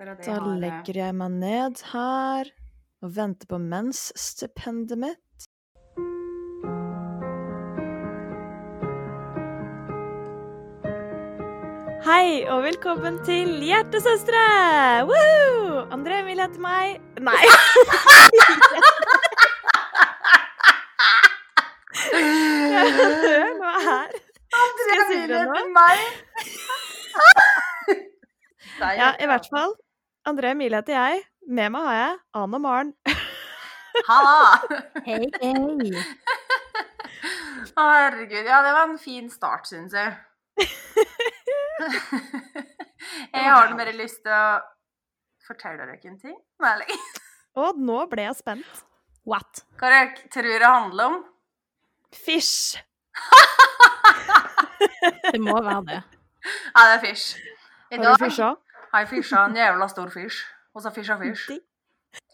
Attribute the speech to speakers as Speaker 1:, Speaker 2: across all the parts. Speaker 1: Det er det
Speaker 2: Da
Speaker 1: jeg har, eh,
Speaker 2: legger jeg meg ned her og venter på mensstipendet mitt. Hei, og velkommen til Hjertesøstre! Woohoo! André Emil heter meg. Nei! Nå er jeg her. Skal jeg si det nå?
Speaker 1: meg? Nei,
Speaker 2: Ja, i hvert fall. André Emil heter jeg. Med meg har jeg Ann og Maren.
Speaker 1: Ha!
Speaker 3: Hei, hei.
Speaker 1: Herregud, ja, det var en fin start, syns jeg. jeg har mer lyst til å Forteller dere en ting? Nei, eller?
Speaker 2: Og nå ble jeg spent.
Speaker 3: What?
Speaker 1: Hva dere tror det handler om?
Speaker 2: Fish!
Speaker 3: Det må være det.
Speaker 1: Nei, det er fish. I
Speaker 2: Har
Speaker 1: dag
Speaker 2: du fisha?
Speaker 1: har jeg fisha en jævla stor fish. Og så fisha fish.
Speaker 2: Digg.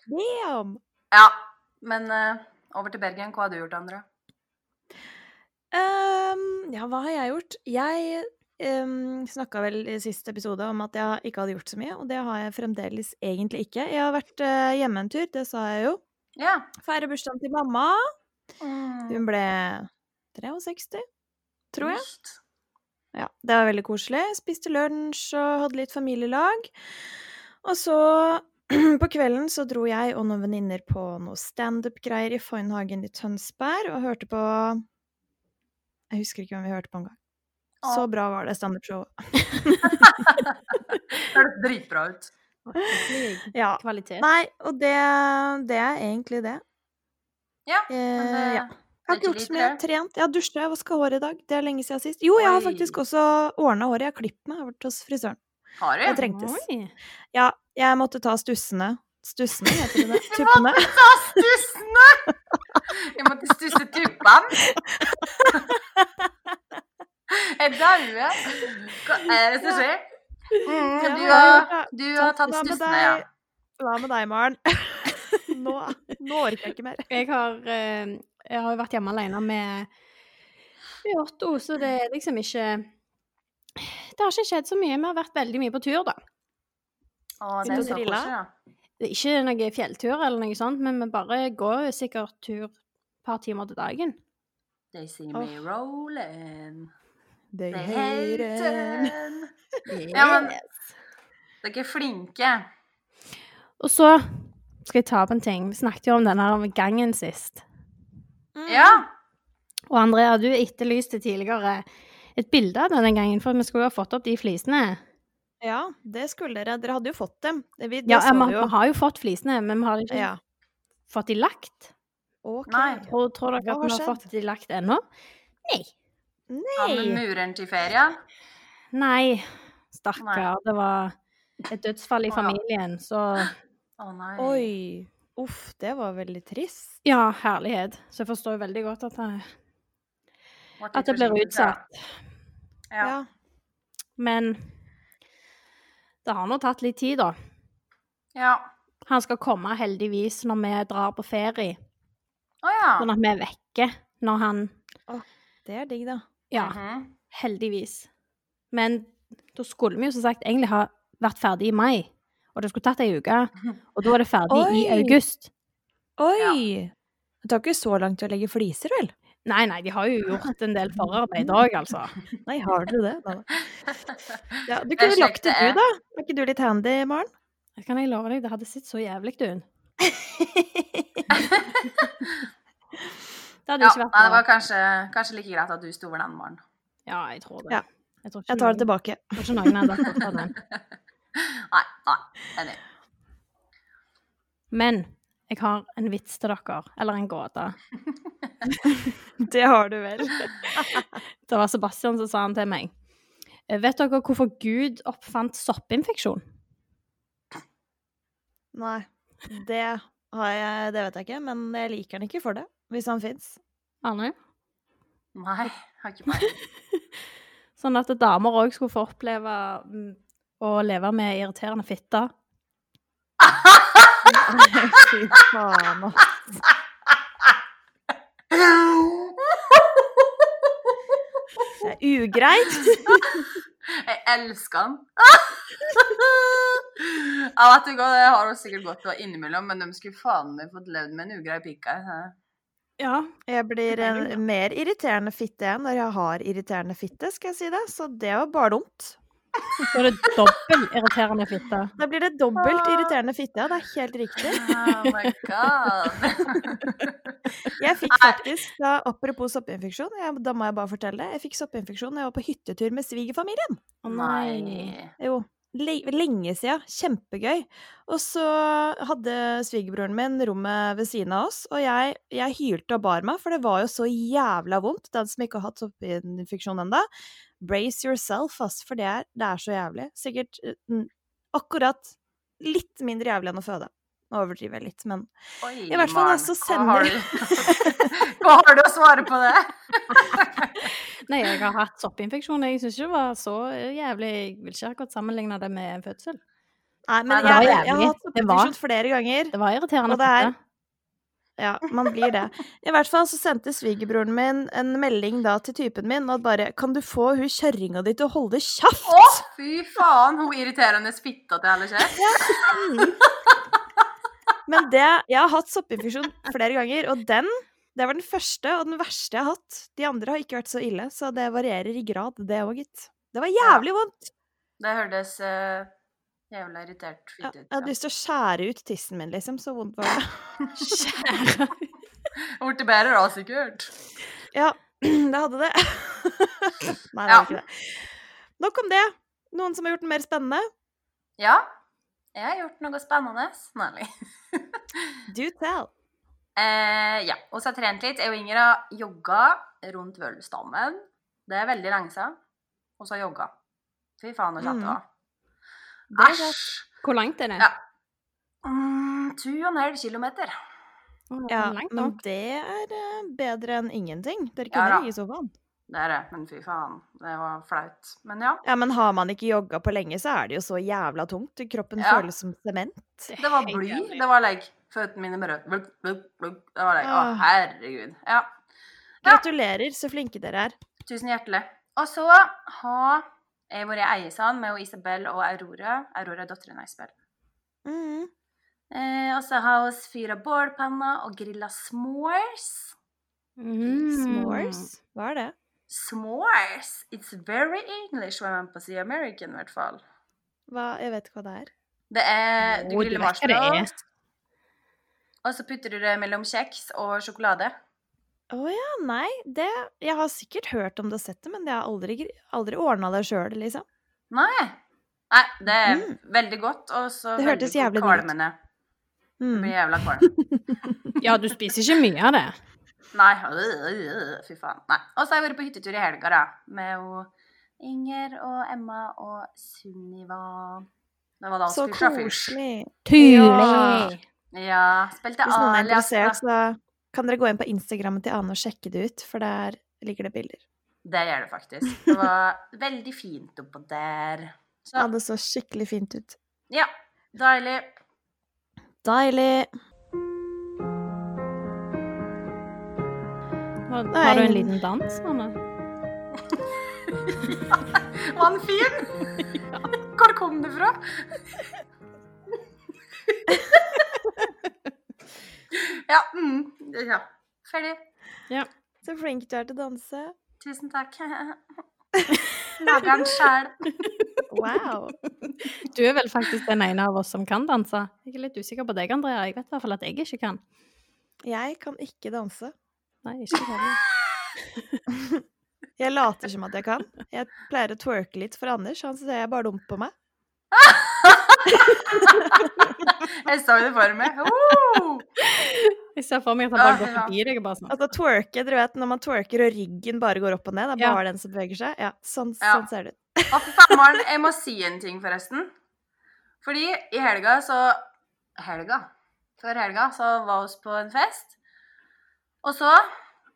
Speaker 2: Damn!
Speaker 1: Ja, men eh, over til Bergen. Hva har du gjort, André?
Speaker 2: Ehm, ja, hva har jeg gjort? Jeg um, snakka vel i siste episode om at jeg ikke hadde gjort så mye, og det har jeg fremdeles egentlig ikke. Jeg har vært eh, hjemme en tur, det sa jeg jo.
Speaker 1: Ja.
Speaker 2: Feire bursdagen til mamma.
Speaker 1: Mm.
Speaker 2: Hun ble 63, tror jeg.
Speaker 1: Just.
Speaker 2: Ja, det var veldig koselig. Spiste lunsj og hadde litt familielag. Og så på kvelden så dro jeg og noen venninner på noe standup-greier i Foynhagen i Tønsberg og hørte på Jeg husker ikke hvem vi hørte på engang. Så bra var det standup-showet.
Speaker 1: Det høres dritbra ut.
Speaker 3: Virkelig
Speaker 2: Ja.
Speaker 3: Kvalitet.
Speaker 2: Nei, og det, det er egentlig det.
Speaker 1: Ja, men
Speaker 2: Eh,
Speaker 1: det-
Speaker 2: ja. Jeg har
Speaker 1: det er ikke
Speaker 2: ikke gjort så
Speaker 1: lite,
Speaker 2: mye. Jeg har
Speaker 1: det.
Speaker 2: trent. Jeg har dusja, jeg vaska håret i dag. Det er lenge siden sist. Jo, jeg har
Speaker 1: Oi.
Speaker 2: faktisk også ordna håret. Jeg har klippet meg. Jeg har vært hos frisøren.
Speaker 1: har du?
Speaker 2: Jeg trengtes.
Speaker 3: Oi.
Speaker 2: Ja, jeg måtte ta stussene. Stussene heter det. det. Tuppene.
Speaker 1: Ta stussene! Jeg måtte stusse tuppene. Jeg dauer. Hva er det som skjer? Mm, du,
Speaker 2: Ja, hva har du
Speaker 1: har,
Speaker 2: gjort
Speaker 1: du har tatt
Speaker 2: Hva med
Speaker 1: stussene, ja.
Speaker 2: deg? Hva med deg, Maren? Nå, nå orker jeg ikke mer.
Speaker 3: Jeg har, eh, jeg har jo vært hjemme alene med, med Otto, så det er liksom ikke Det har ikke skjedd så mye. Vi har vært veldig mye på tur, da.
Speaker 1: Å, det er så
Speaker 2: Sitte og drille.
Speaker 1: koselig, da.
Speaker 3: Det er ikke noe fjelltur eller noe sånt, men vi bare går jo sikkert tur et par timer til dagen.
Speaker 1: They see me rolling,
Speaker 2: They
Speaker 1: they
Speaker 2: hate it.
Speaker 1: hating. Ja, men- Dere er flinke.
Speaker 3: Og så skal jeg ta opp en ting. Vi snakket jo om den her gangen sist.
Speaker 2: Mm.
Speaker 1: Ja.
Speaker 3: Og Andrea, du etterlyste tidligere et bilde av denne gangen, for vi skulle jo ha fått opp de flisene.
Speaker 2: Ja, det skulle dere. Dere hadde jo fått dem. Det, vi, det
Speaker 3: Ja,
Speaker 2: så
Speaker 3: vi
Speaker 2: vi jo.
Speaker 3: vi har jo fått flisene, men vi har ikke
Speaker 2: Ja.
Speaker 3: fått de lagt.
Speaker 2: Ok.
Speaker 1: Nei.
Speaker 3: Tror, tror dere
Speaker 2: Hva har
Speaker 3: at vi har
Speaker 2: skjedd?
Speaker 3: fått de lagt ennå? Nei.
Speaker 1: Han med
Speaker 2: Nei.
Speaker 1: mureren til ferie.
Speaker 3: Nei. Stakkar.
Speaker 1: Nei.
Speaker 3: Det var et dødsfall i
Speaker 1: Å, ja.
Speaker 3: familien, så
Speaker 1: Å nei.
Speaker 2: Oi. Uff, det var veldig trist.
Speaker 3: Ja, herlighet. Så jeg forstår jo veldig godt at det,
Speaker 1: Vart
Speaker 3: at det blir
Speaker 1: forsinket, ja.
Speaker 3: utsatt.
Speaker 1: Ja.
Speaker 2: Ja.
Speaker 3: Men det har nå tatt litt tid, da.
Speaker 1: ja.
Speaker 3: Han skal komme heldigvis når vi drar på ferie,
Speaker 1: Å ja.
Speaker 3: sånn at vi er vekke når han
Speaker 2: Det er digg, da.
Speaker 3: Ja,
Speaker 1: Mhm.
Speaker 3: heldigvis. Men da skulle vi jo som sagt egentlig ha vært ferdig i mai, og det skulle tatt ei uke. Og da er det ferdig i
Speaker 2: Oi.
Speaker 3: august.
Speaker 2: Oi! Det tar ikke så langt å legge fliser, vel?
Speaker 3: Nei, nei, de har jo gjort en del forarbeid òg, altså.
Speaker 2: Nei, har dere det? Nei, da. Ja, du
Speaker 1: Det er
Speaker 2: kunne lagt
Speaker 1: slik det
Speaker 2: det,
Speaker 1: er.
Speaker 2: du, da. Er ikke du litt handy, Maren?
Speaker 3: Det kan jeg love deg, det hadde sett så jævlig ut. Det hadde
Speaker 1: Ja,
Speaker 3: ikke vært
Speaker 1: nei, det
Speaker 3: bra.
Speaker 1: var kanskje, kanskje like greit at du sto over den morgenen.
Speaker 3: Ja, jeg tror det.
Speaker 2: Ja.
Speaker 3: Jeg tror ikke
Speaker 2: Jeg tar
Speaker 3: noen-
Speaker 2: det tilbake.
Speaker 3: jeg tror ikke noen hadde fått av den.
Speaker 1: Nei, nei, enig.
Speaker 3: Men jeg har en vits til dere, eller en gåte.
Speaker 2: Det har du vel.
Speaker 3: Det var Sebastian som sa han til meg. Eh, Vet dere hvorfor Gud oppfant soppinfeksjon?
Speaker 2: Nei, det har jeg Det vet jeg ikke, men jeg liker den ikke for det, hvis han fins.
Speaker 3: Arne?
Speaker 1: Nei, jeg har ikke peiling.
Speaker 3: Sånn at damer òg skulle få oppleve mm, å leve med irriterende fitte.
Speaker 2: Fy faen, ass. Det er ugreit.
Speaker 1: Jeg elsker den. Ja, vet du hva, det har hun sikkert gått på innimellom, men de skulle faen meg fått levd med en ugrei pikk her. hæ?
Speaker 3: Ja.
Speaker 2: Jeg blir en mer irriterende fitte enn når jeg har irriterende fitte, skal jeg si det. Så det var bare dumt.
Speaker 3: Da er det dobbelt irriterende fitte.
Speaker 2: Da blir det dobbelt irriterende fitte, ja. Det er helt riktig.
Speaker 1: Oh my god.
Speaker 2: Jeg fikk faktisk, da, apropos soppinfeksjon, jeg, da må jeg bare fortelle det. Jeg fikk soppinfeksjon da jeg var på hyttetur med svigerfamilien.
Speaker 3: Å
Speaker 2: Jo, le lenge siden. Kjempegøy. Og så hadde svigerbroren min rommet ved siden av oss, og jeg, jeg hylte og bar meg, for det var jo så jævla vondt. Den som ikke har hatt soppinfeksjon ennå, brace yourself, ass, for det er, det er så jævlig. Sikkert eh, mm, akkurat litt mindre jævlig enn å føde. Nå overdriver jeg litt, men
Speaker 1: Oi,
Speaker 2: I hvert fall, da, så
Speaker 1: Maren, hva har du- Hva har du å svare på det?
Speaker 3: Nei, jeg har hatt soppinfeksjon. Jeg syns ikke det var så eh, jævlig Jeg vil ikke akkurat sammenligne det med en fødsel.
Speaker 2: Nei, men
Speaker 1: Nei, det
Speaker 2: jeg,
Speaker 1: var
Speaker 2: jeg, har
Speaker 3: jævlig.
Speaker 2: hatt
Speaker 3: Det var-
Speaker 2: soppinfeksjon flere ganger.
Speaker 3: Det var irriterende
Speaker 2: Og det er-
Speaker 3: fitte.
Speaker 2: Ja, man blir det. I hvert fall så sendte svigerbroren min en melding da til typen min og bare 'Kan du få hun kjerringa di til å holde kjeft?'
Speaker 1: Å, fy faen, hun irriterende fitta til alle skjer.
Speaker 2: Men det Jeg har hatt soppinfeksjon flere ganger, og den det var den første og den verste jeg har hatt. De andre har ikke vært så ille, så det varierer i grad, det òg, gitt. Det var jævlig vondt!
Speaker 1: Det hørtes eh, jævla irritert
Speaker 2: Ja,
Speaker 1: fitte
Speaker 2: Jeg
Speaker 1: ut.
Speaker 2: hadde lyst til å skjære ut tissen min, liksom. Så vondt var det.
Speaker 3: Kjære
Speaker 1: Hun ble bedre da, sikkert.
Speaker 2: Ja, det hadde det. Nei, det
Speaker 1: Ja.
Speaker 2: var ikke det. Nok om det. Noen som har gjort den mer spennende?
Speaker 1: Ja, jeg har gjort noe spennende. Snarlig.
Speaker 2: Do tell.
Speaker 1: Eh, ja, og så har jeg trent litt. Jeg og Inger har jogga rundt Vølstammen. Det er veldig lenge siden. Og så har jeg jogga. Fy faen, så kjapt det var.
Speaker 2: Mm, Det er
Speaker 1: Æsj!
Speaker 3: Hvor langt er det?
Speaker 1: Ja. Mm, 2,5 kilometer.
Speaker 3: Å, det er
Speaker 2: Ja,
Speaker 3: langt, da.
Speaker 2: men det er eh, bedre enn ingenting. Dere
Speaker 1: Ja
Speaker 2: kunne
Speaker 1: da.
Speaker 2: ligge i sofaen.
Speaker 1: Det er det, men fy faen. Det var flaut. Men ja.
Speaker 2: Ja, men har man ikke jogga på lenge, så er det jo så jævla tungt. Kroppen
Speaker 1: Ja.
Speaker 2: føles som sement.
Speaker 1: Det var
Speaker 3: Helt
Speaker 1: bly.
Speaker 3: jævlig.
Speaker 1: Det var legg. Føttene mine bare blugg, blugg, blugg. Det var legg. Å,
Speaker 2: Ah.
Speaker 1: herregud. Ja. Ja.
Speaker 2: Gratulerer, så flinke dere er.
Speaker 1: Tusen hjertelig. Og så har jeg vært i Eiesand med Isabel og Aurora. Aurora er datteren av Isabel.
Speaker 2: Mhm.
Speaker 1: Eh, og så har vi fyra bålpanner og grilla s'mores.
Speaker 3: Mm.
Speaker 2: S'mores? Hva er det?
Speaker 1: S'mores! It's very English, hva man på å si American, i hvert fall.
Speaker 2: Hva? Jeg vet ikke hva det er.
Speaker 1: Det er Eh, Du
Speaker 3: Jo,
Speaker 1: griller
Speaker 3: vet hva det er.
Speaker 1: marshmallows, og så putter du det mellom kjeks og sjokolade.
Speaker 2: Å ja, nei. Det Jeg har sikkert hørt om det og sett det, men jeg har aldri, gri- aldri ordna det sjøl, liksom.
Speaker 1: Nei! Nei, det er veldig godt, og så
Speaker 2: Mm. Det hørtes
Speaker 1: veldig
Speaker 2: jævlig digg ut.
Speaker 1: kvalmende. Det
Speaker 2: Mm.
Speaker 1: blir jævla kvalm.
Speaker 3: Ja, du spiser ikke mye av det.
Speaker 1: Nei, øh, øh, fy faen. Nei. Og så har jeg vært på hyttetur i helga, da, med jo Inger og Emma og Sunniva. Det var da vi
Speaker 2: Så
Speaker 1: skulle fra fyrs.
Speaker 2: koselig.
Speaker 3: Tulig!
Speaker 1: Ja, spilte
Speaker 2: Hvis noen er
Speaker 1: Alias, da.
Speaker 2: interessert, så kan dere gå inn på Instagrammen til Ane og sjekke det ut, for der ligger det bilder.
Speaker 1: Det gjør det faktisk. Det var veldig fint oppå der.
Speaker 2: Ja,
Speaker 1: Så
Speaker 2: det så skikkelig fint ut.
Speaker 1: ja, deilig.
Speaker 2: Deilig.
Speaker 3: Var,
Speaker 2: Nei.
Speaker 3: var det en liten dans, Anne?
Speaker 1: Var den fin? Hvor kom det fra? ja, mm, ja. Ferdig.
Speaker 2: Så flink du er til å danse.
Speaker 1: Tusen takk. Lager den sjæl.
Speaker 2: Wow.
Speaker 3: Du er vel faktisk den ene av oss som kan danse. Jeg er litt usikker på deg, Andrea. Jeg vet i hvert fall at jeg ikke kan.
Speaker 2: Jeg kan ikke danse.
Speaker 3: Nei, ikke heller.
Speaker 2: Jeg later som at jeg kan. Jeg pleier å twerke litt for Anders, han ser bare dumt på meg.
Speaker 1: Jeg så det for meg. Oh!
Speaker 3: Jeg ser for meg at han bare
Speaker 1: Ja,
Speaker 3: går
Speaker 1: ja.
Speaker 3: forbi deg og bare sånn.
Speaker 2: Altså twerke, dere vet når man twerker og ryggen bare går opp og ned, det
Speaker 3: Ja.
Speaker 2: er bare den som beveger seg. Ja, sånn,
Speaker 1: Ja.
Speaker 2: sånn ser det ut.
Speaker 1: Å, fy faen, Maren, jeg må si en ting, forresten. Fordi i helga så Helga? Før helga så var vi på en fest. Og så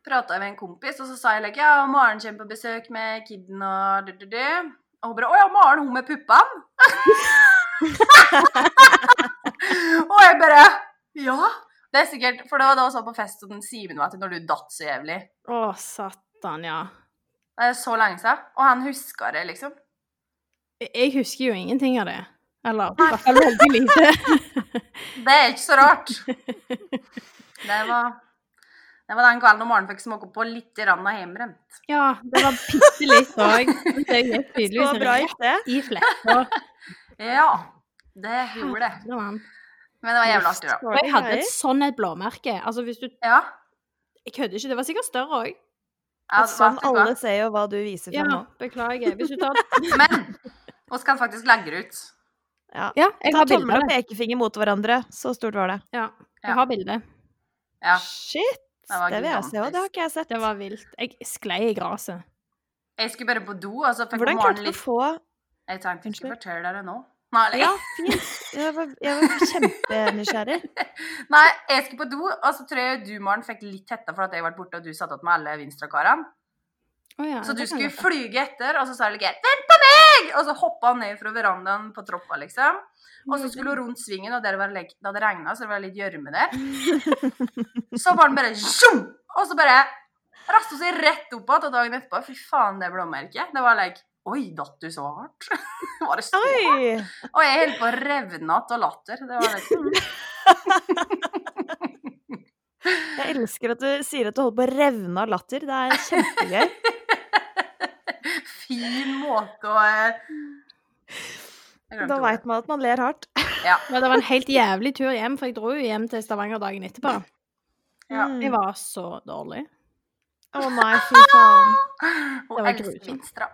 Speaker 1: prata jeg med en kompis, og så sa jeg like, ja, Maren kommer på besøk med kidden og du-du-du. Og hun bare Å ja, Maren, hun med puppene? og jeg bare Ja. Det er sikkert, for det var da vi var på fest, og den Simen var til når du datt så jævlig.
Speaker 3: Å, satan, ja.
Speaker 1: Det er så lenge siden. Og han huska det, liksom.
Speaker 3: Jeg- Jeg husker jo ingenting av det. Eller i hvert fall veldig lite.
Speaker 1: Det er ikke så rart. Det var, det var den kvelden og morgenen fikk smake på litt grann av hjemmebrent.
Speaker 3: ja, det var bitte litt òg. Det gikk
Speaker 2: Så
Speaker 3: tydeligvis
Speaker 2: bra
Speaker 3: rett
Speaker 2: gikk det.
Speaker 3: i flekker.
Speaker 1: Ja, det gjorde det.
Speaker 3: Mann.
Speaker 1: Men det var jævlig artig, da.
Speaker 3: Og jeg hadde et sånn et blåmerke. Altså, hvis du
Speaker 1: Ja.
Speaker 3: Jeg kødder ikke, det var sikkert større òg.
Speaker 1: ja
Speaker 2: At sånn
Speaker 1: vet du hva.
Speaker 2: alle ser jo hva du viser
Speaker 3: Ja,
Speaker 2: fram nå.
Speaker 3: beklager. Hvis du tar
Speaker 1: Men vi kan faktisk legge det ut.
Speaker 2: Ja.
Speaker 3: Ja, jeg
Speaker 2: Ta
Speaker 3: har bilde
Speaker 2: tommel
Speaker 3: av
Speaker 2: og
Speaker 3: det.
Speaker 2: pekefinger mot hverandre. Så stort var det.
Speaker 3: Ja,
Speaker 1: Ja.
Speaker 3: jeg har bilde.
Speaker 1: Ja.
Speaker 2: Shit!
Speaker 1: Det var
Speaker 2: Det vil jeg se òg, det har
Speaker 1: gigantisk.
Speaker 2: ikke jeg sett.
Speaker 3: Det var vilt. Jeg sklei i gresset.
Speaker 1: Jeg skulle bare på do, og så fikk
Speaker 2: Hvordan
Speaker 1: morgenen
Speaker 2: klarte du å
Speaker 1: litt
Speaker 2: få
Speaker 1: Jeg tenkte jeg skulle
Speaker 2: Unnskyld.
Speaker 1: fortelle dere nå. Nei,
Speaker 2: Ja, fint. Jeg var, jeg var kjempenysgjerrig.
Speaker 1: Nei, jeg skulle på do, og så tror jeg du, Maren, fikk litt hetta for at jeg var borte, og du satt opp med alle Vinstra-karene.
Speaker 3: Å ja,
Speaker 1: Så du
Speaker 3: det kan
Speaker 1: skulle
Speaker 3: jeg godt.
Speaker 1: flyge etter, og så sa Ligge 'vent på meg!' Og så hoppa han ned fra verandaen på trappa, liksom. Og så skulle hun rundt svingen, og der var det leg- det hadde regna, så det var litt gjørme der. Så var han bare zoom! Og så bare raste hun seg rett opp igjen, og dagen etterpå Fy faen, det blåmerket. Det var like Oi, datt du så hardt? var det så
Speaker 2: Oi!
Speaker 1: Og jeg holdt på å revne igjen av latter. Det var liksom
Speaker 2: Jeg elsker at du sier at du holder på å revne av latter. Det er kjempegøy.
Speaker 1: fin måte å eh, jeg glemte
Speaker 2: Da
Speaker 1: ordet.
Speaker 2: veit man at man ler hardt.
Speaker 3: Ja, det var en helt jævlig tur hjem, for jeg dro jo hjem til Stavanger dagen etterpå.
Speaker 1: Ja.
Speaker 2: Mm.
Speaker 3: Jeg var så dårlig.
Speaker 2: Å nei, fy faen.
Speaker 1: Hun
Speaker 3: Det var
Speaker 1: elsker
Speaker 3: grusomt.
Speaker 1: Vinstra.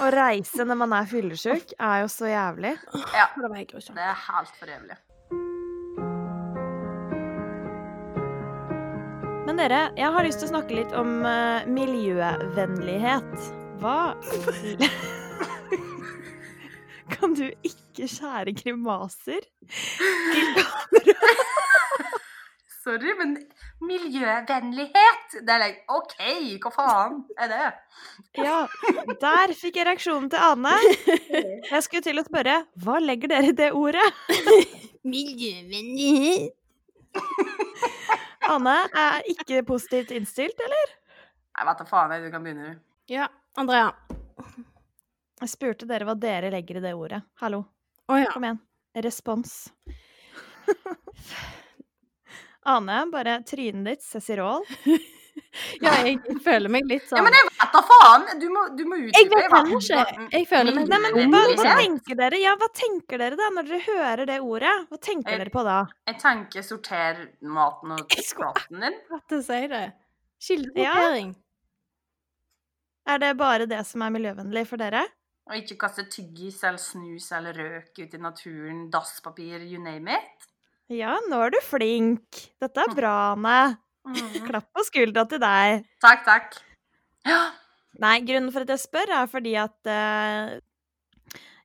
Speaker 2: Å reise når man er fyllesyk, er jo så jævlig.
Speaker 3: Det var helt grusomt.
Speaker 1: Det er helt for jævlig.
Speaker 2: Men dere, jeg har lyst til å snakke litt om eh, miljøvennlighet. Hva Kan du ikke skjære grimaser?
Speaker 1: Sorry, men miljøvennlighet Det er like OK, hva faen er det?
Speaker 2: Ja, der fikk jeg reaksjonen til Ane. Jeg skulle til å spørre hva legger dere i det ordet?
Speaker 3: Miljøvennlig.
Speaker 2: Ane er ikke positivt innstilt, eller?
Speaker 1: Nei, vet da faen, jeg, du kan begynne, du.
Speaker 3: Ja, Andrea.
Speaker 2: Jeg spurte dere hva dere legger i det ordet. Hallo,
Speaker 3: Å ja.
Speaker 2: kom igjen. Respons. Ane, bare trynet ditt, Cecirol.
Speaker 3: ja. Jeg føler meg litt
Speaker 1: Ja,
Speaker 3: sånn
Speaker 1: men jeg vet da faen! Du må, du må utdype.
Speaker 3: Jeg vet heller ikke.
Speaker 1: hva-
Speaker 3: Jeg føler meg
Speaker 2: Nei, men
Speaker 1: Veldig
Speaker 2: hva, hva
Speaker 1: sant.
Speaker 2: tenker dere? Ja, hva tenker dere da, når dere hører det ordet? Hva tenker
Speaker 1: Eh,
Speaker 2: dere på da?
Speaker 1: Jeg tenker sorter maten og
Speaker 3: Jeg skulle
Speaker 1: praten din.
Speaker 3: at du sier det. Kildesortering.
Speaker 2: Er det bare det som er miljøvennlig for dere?
Speaker 1: Og ikke kaste tyggis eller snus eller røk ut i naturen, dasspapir, you name it.
Speaker 2: Ja, nå er du flink. Dette er bra, Anne.
Speaker 1: Mhm.
Speaker 2: Klapp på skuldra til deg.
Speaker 1: Takk, takk. Ja.
Speaker 2: Nei, grunnen for at jeg spør, er fordi at eh,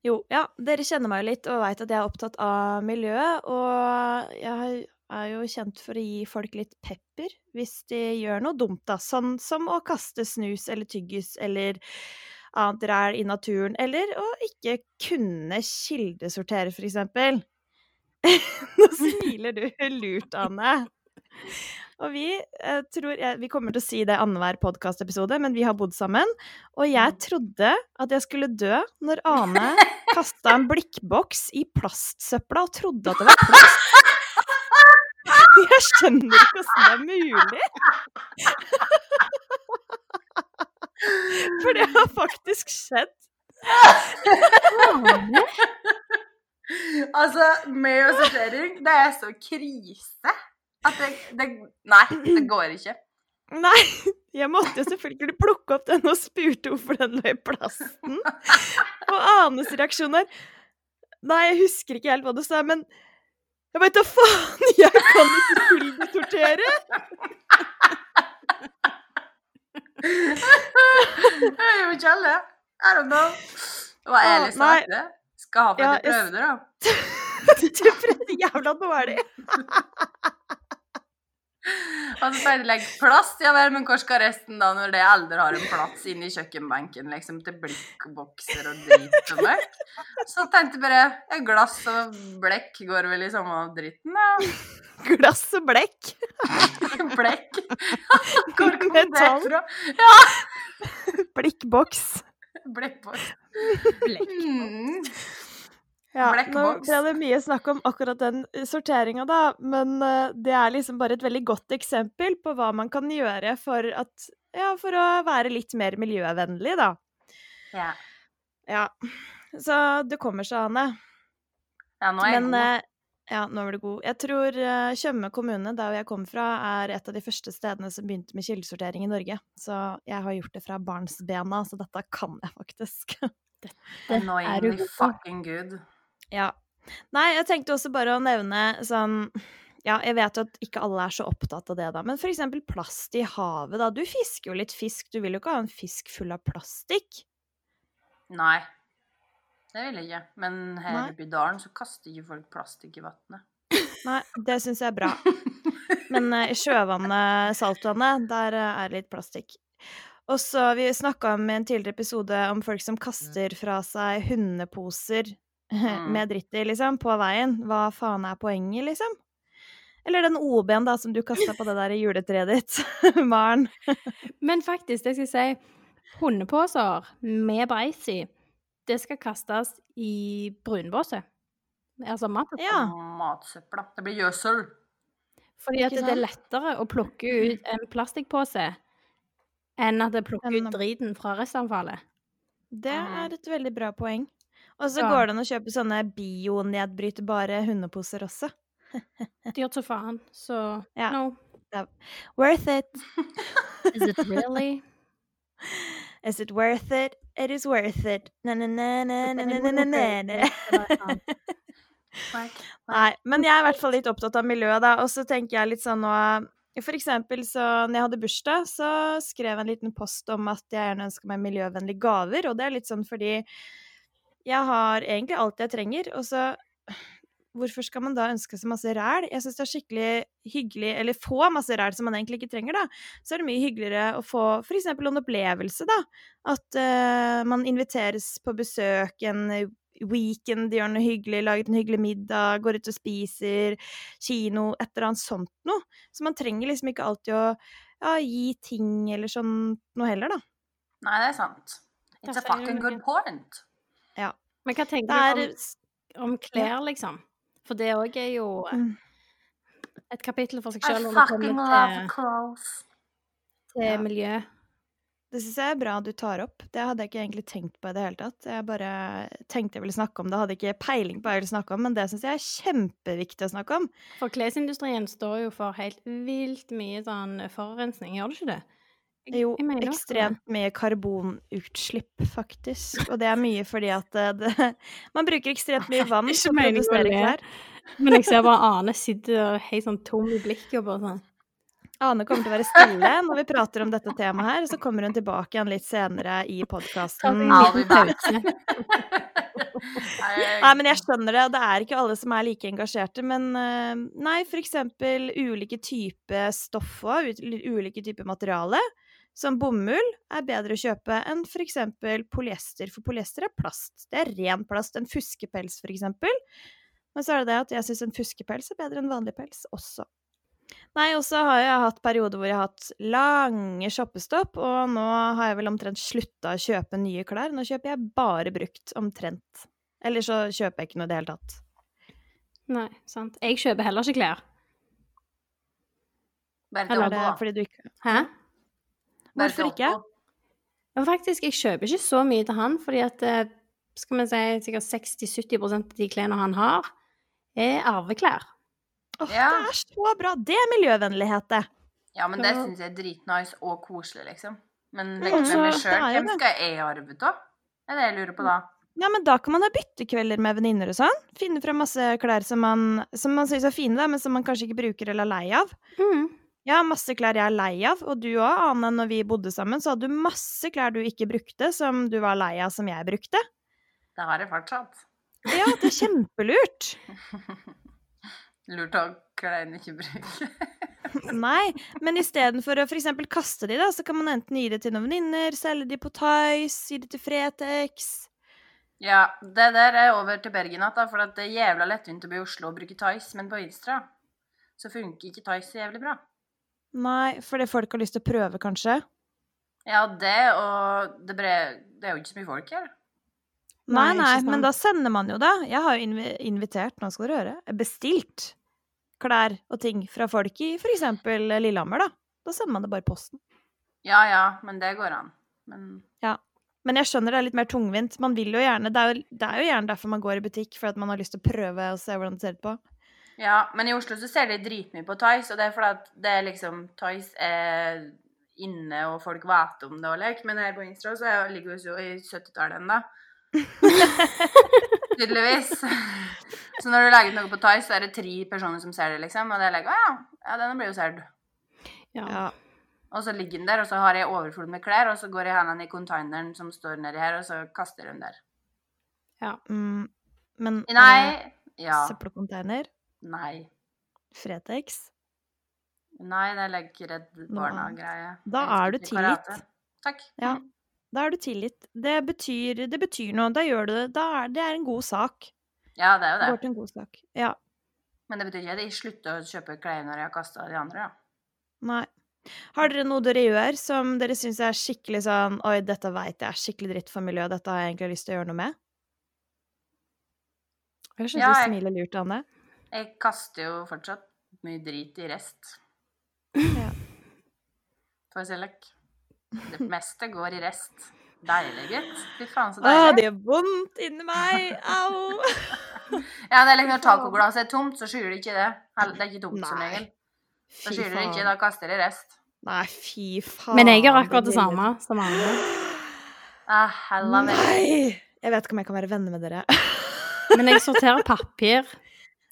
Speaker 2: Jo, ja, dere kjenner meg jo litt og veit at jeg er opptatt av miljøet. Og jeg er jo kjent for å gi folk litt pepper hvis de gjør noe dumt, da. Sånn som å kaste snus eller tyggis eller annet ræl i naturen. Eller å ikke kunne kildesortere, for eksempel. Nå smiler du lurt, Anne. Og vi eh, tror jeg, Vi kommer til å si det annenhver podkastepisode, men vi har bodd sammen. Og jeg trodde at jeg skulle dø når Ane kasta en blikkboks i plastsøpla og trodde at det var plast. Jeg skjønner ikke hvordan det er mulig. For det har faktisk skjedd.
Speaker 3: Faen,
Speaker 1: Altså, med og sortering, det er så krise at det, det Nei, det går ikke.
Speaker 2: Nei, jeg måtte jo selvfølgelig plukke opp den og spurte hvorfor den lå i plasten. Og Anes reaksjon er Nei, jeg husker ikke helt hva du sa, men jeg veit da faen! Jeg kan ikke kildesortere!
Speaker 1: Jeg gjør ikke alle. I don't know. Det var ærlig
Speaker 2: Å, nei.
Speaker 1: sagt, det. Skal ha på
Speaker 2: Ja,
Speaker 1: etter
Speaker 2: jeg-
Speaker 1: prøvene, da.
Speaker 2: Du prøvde jævla dårlig.
Speaker 1: Og så sier de legg plast, ja vel, men hvor skal resten da, når det aldri har en plass inne i kjøkkenbenken, liksom, til blikkbokser og drit og møkk? Så tenkte jeg bare, ja, glass og blekk går vel i samme dritten, da.
Speaker 2: Glass og blekk.
Speaker 1: Blekk. Hvor kom det
Speaker 2: Metall.
Speaker 1: fra?
Speaker 2: Blikkboks.
Speaker 1: Blekkboks.
Speaker 3: blekk.
Speaker 1: Mm.
Speaker 2: Ja, nå
Speaker 1: Blackbox.
Speaker 2: ble det mye snakk om akkurat den sorteringa, da, men eh, det er liksom bare et veldig godt eksempel på hva man kan gjøre for, at, ja, for å være litt mer miljøvennlig, da.
Speaker 1: Ja.
Speaker 2: Ja. Så det kommer seg, Anne.
Speaker 1: ja, nå er jeg
Speaker 2: Men
Speaker 1: god.
Speaker 2: eh, ja, nå var du god. Jeg tror eh, Tjøme kommune, der hvor jeg kommer fra, er et av de første stedene som begynte med kildesortering i Norge. Så jeg har gjort det fra barnsbena, så dette kan jeg faktisk.
Speaker 3: Det er du
Speaker 1: Annoyingly
Speaker 3: god på.
Speaker 1: fucking good.
Speaker 2: ja. Nei, jeg tenkte også bare å nevne sånn ja, jeg vet jo at ikke alle er så opptatt av det, da, men for eksempel plast i havet, da. Du fisker jo litt fisk, du vil jo ikke ha en fisk full av plastikk?
Speaker 1: Nei. Det vil jeg ikke. Men her
Speaker 2: Nei.
Speaker 1: oppe i dalen så kaster ikke folk plastikk i vannet.
Speaker 2: Nei, det syns jeg er bra. Men eh, i sjøvannet, saltvannet, der eh, er det litt plastikk. Og så Vi snakka om i en tidligere episode om folk som
Speaker 3: Mm.
Speaker 2: kaster fra seg hundeposer med dritt i, liksom, på veien. Hva faen er poenget, liksom? Eller den OB-en da, som du kasta på det der juletreet ditt, Maren.
Speaker 3: Men faktisk, det skal jeg si, hundepåser med beis i, det skal kastes i brunbåset. Altså mat.
Speaker 2: Ja.
Speaker 1: Matsøpla. Det blir gjødsel.
Speaker 3: Fordi at
Speaker 2: Ikke
Speaker 3: det er lettere å plukke ut en plastikkpose enn at det plukker
Speaker 2: Enn å-
Speaker 3: ut driten fra restavfallet.
Speaker 2: Det
Speaker 1: Mhm.
Speaker 2: er et veldig bra poeng. Og så
Speaker 3: Mm. Ja.
Speaker 2: går det an å kjøpe sånne bionedbrytbare hundeposer også.
Speaker 3: Dyrt som faen. Så
Speaker 2: Ja.
Speaker 3: no.
Speaker 2: Worth it!
Speaker 3: Is it really?
Speaker 2: Is it worth it? It is worth it. Na-na-na-na-na-na-na-na.
Speaker 3: Nei,
Speaker 1: Quack.
Speaker 2: Nei, men jeg er i hvert fall litt opptatt av miljøet, da. Og så tenker jeg litt sånn nå For eksempel så når jeg hadde bursdag, så skrev jeg en liten post om at jeg gjerne ønsker meg miljøvennlige gaver, og det er litt sånn fordi jeg har egentlig alt jeg trenger, og så Hvorfor skal man da ønske seg masse ræl? Jeg syns det er skikkelig hyggelig Eller få masse ræl som man egentlig ikke trenger, da. Så er det mye hyggeligere å få f.eks. en opplevelse, da. At eh, man inviteres på besøk en eh, weekend, gjør noe hyggelig, lager en hyggelig middag, går ut og spiser, kino, et eller annet sånt noe. Så man trenger liksom ikke alltid å ja, gi ting eller sånn noe heller, da.
Speaker 1: Nei, det er sant. It's
Speaker 3: Da
Speaker 1: a
Speaker 3: sier du
Speaker 1: fucking good
Speaker 3: noe.
Speaker 1: point.
Speaker 3: Men hva
Speaker 2: Det
Speaker 3: tenker du
Speaker 2: er eh,
Speaker 3: om, om klær, liksom? For det òg er jo eh,
Speaker 2: Mm.
Speaker 3: et kapittel for seg
Speaker 1: I
Speaker 3: sjøl når det
Speaker 1: fucking
Speaker 3: kommer
Speaker 1: love
Speaker 3: til,
Speaker 1: clothes.
Speaker 2: Ja.
Speaker 3: til miljø.
Speaker 2: Det syns jeg er bra du tar opp. Det hadde jeg ikke egentlig tenkt på i det hele tatt. Jeg bare tenkte jeg ville snakke om det, hadde ikke peiling på hva jeg ville snakke om, men det syns jeg er kjempeviktig å snakke om.
Speaker 3: For klesindustrien står jo for helt vilt mye sånn forurensning, gjør det ikke det? Jeg-
Speaker 2: Jo,
Speaker 3: jeg mener også
Speaker 2: ekstremt mye karbonutslipp, faktisk. Og det er mye fordi at eh, det, man bruker ekstremt mye vann
Speaker 3: Ikke
Speaker 2: til å
Speaker 3: meningen å
Speaker 2: produsere
Speaker 3: le.
Speaker 2: klær.
Speaker 3: det. Men jeg ser bare Ane sitter helt sånn tom i blikket og bare sånn
Speaker 2: Ane kommer til å være stille når vi prater om dette temaet her, og så kommer hun tilbake igjen litt senere i podkasten.
Speaker 3: Mm.
Speaker 1: I'll be back.
Speaker 3: Pause.
Speaker 2: Nei, men jeg skjønner det, og det er ikke alle som er like engasjerte, men eh, nei, for eksempel ulike typer stoff og ut- ulike typer materiale, som bomull, er bedre å kjøpe enn for eksempel polyester, for polyester er plast. Det er ren plast. En fuskepels, for eksempel. Men så er det det at jeg syns en fuskepels er bedre enn vanlig pels også. Nei, og så har jeg hatt perioder hvor jeg har hatt lange shoppestopp, og nå har jeg vel omtrent slutta å kjøpe nye klær. Nå kjøper jeg bare brukt, omtrent. Eller så kjøper jeg ikke noe i det hele tatt.
Speaker 3: Nei, sant. Jeg kjøper heller ikke klær.
Speaker 1: Bare til
Speaker 3: Eller
Speaker 2: Er det
Speaker 1: Otto, da.
Speaker 2: fordi du ikke
Speaker 3: Hæ?
Speaker 1: Bare til
Speaker 2: Hvorfor ikke?
Speaker 1: Otto.
Speaker 3: Men faktisk, jeg kjøper ikke så mye til han, fordi at eh, skal vi si sikkert 60-70 av de klærne han har, er arveklær.
Speaker 2: Åh,
Speaker 1: Ja.
Speaker 2: det er så bra! Det er miljøvennlighet, det!
Speaker 1: Ja, men det
Speaker 3: Ja.
Speaker 1: syns jeg er dritnice og koselig, liksom. Men
Speaker 2: Mm,
Speaker 1: legg til
Speaker 2: så
Speaker 1: meg
Speaker 2: det
Speaker 1: sjøl,
Speaker 2: er
Speaker 1: hvem
Speaker 2: jo det. Mm.
Speaker 1: skal jeg arve av? Det er det jeg lurer på da.
Speaker 2: Ja, men da kan man ha byttekvelder med venninner og sånn. Finne frem masse klær som man, som man syns er fine, da, men som man kanskje ikke bruker eller er lei av.
Speaker 3: Mm.
Speaker 2: Jeg har masse klær jeg er lei av, og du òg, Ane, når vi bodde sammen, så hadde du masse klær du ikke brukte, som du var lei av som jeg brukte.
Speaker 1: Det har jeg fortsatt.
Speaker 2: Ja, det er kjempelurt!
Speaker 1: Lurt å kleine ikke bruke.
Speaker 2: Nei, men istedenfor å f.eks. kaste de, da, så kan man enten gi det til noen venninner, selge de på Tice, gi det til Fretex.
Speaker 1: Ja, det der er over til Bergen igjen, da, for at det er jævla lettvint å bli i Oslo og bruke Tice, men på Instra så funker ikke Tice så jævlig bra.
Speaker 2: Nei, fordi folk har lyst til å prøve, kanskje.
Speaker 1: Ja, det og det, bre det er jo ikke så mye folk her.
Speaker 2: Nei,
Speaker 3: Nei,
Speaker 2: nei,
Speaker 3: ikke
Speaker 2: men
Speaker 3: sant.
Speaker 2: da sender man jo det. Jeg har jo invi invitert, nå skal dere høre, bestilt klær og ting fra folk i for eksempel Lillehammer, da. Da sender man det bare i posten.
Speaker 1: Ja ja, men det går an. Men
Speaker 2: Men jeg skjønner det er litt mer tungvint. Man vil jo gjerne, det er jo, det er jo gjerne derfor man går i butikk, for at man har lyst til å prøve og se hvordan det ser ut på.
Speaker 1: ja, men i Oslo så ser de dritmye på Tice, og det er fordi at det er liksom Tice er inne, og folk vet om det og lek, men her på Instra så er- ligger vi jo i 70-tallet ennå. Tydeligvis. Så når du legger ut noe på Tice, så er det tre personer som ser det, liksom, og det er like, å ja, ja, denne blir jo sett.
Speaker 3: Ja.
Speaker 2: Ja.
Speaker 1: Og så ligger den der, og så har jeg overflod med klær, og så går jeg hendene i containeren som står nedi her, og så kaster jeg dem der.
Speaker 2: Mm, men eh,
Speaker 1: Nei. Ja.
Speaker 2: søppelcontainer,
Speaker 1: Nei.
Speaker 2: Fretex
Speaker 1: Nei, det er like Redd Barna-greie.
Speaker 2: Da
Speaker 1: Jeg
Speaker 2: er du
Speaker 1: elsker karate.
Speaker 2: tilgitt.
Speaker 1: Takk.
Speaker 2: Ja. Da er du tilgitt. Det betyr, det betyr noe. Da gjør du det. Da er, det er en god sak.
Speaker 1: Ja, det er
Speaker 2: Det
Speaker 1: jo
Speaker 2: går
Speaker 1: det.
Speaker 2: til en god sak. Ja.
Speaker 1: Men det betyr ikke at jeg slutter å kjøpe klær når jeg har kasta de andre, da.
Speaker 2: Nei. Har dere noe dere gjør som dere syns er skikkelig sånn Oi, dette veit jeg er skikkelig dritt for miljøet, dette har jeg egentlig lyst til å gjøre noe med? Jeg syns
Speaker 1: Ja,
Speaker 2: du
Speaker 1: jeg-
Speaker 2: smiler lurt, Anne.
Speaker 1: Jeg kaster jo fortsatt mye drit i rest.
Speaker 2: Ja.
Speaker 1: For selek. Det meste går i rest. Deilig, gutt. Fy faen, så
Speaker 2: Å,
Speaker 1: deilig.
Speaker 2: det gjør vondt inni meg! Au!
Speaker 1: Ja, det er liksom når tacoglasset er tomt, så skyer det ikke det. Hell- Det er ikke tomt som
Speaker 2: Nei.
Speaker 1: regel. Da
Speaker 2: Fy
Speaker 1: skyer det ikke,
Speaker 2: faen.
Speaker 1: da kaster de rest.
Speaker 2: Nei, fy faen.
Speaker 3: Men jeg gjør akkurat det
Speaker 2: lille-
Speaker 3: samme som andre.
Speaker 1: Ah, hella meg.
Speaker 2: Nei! Jeg vet ikke om jeg kan være venner med dere.
Speaker 3: Men jeg sorterer papir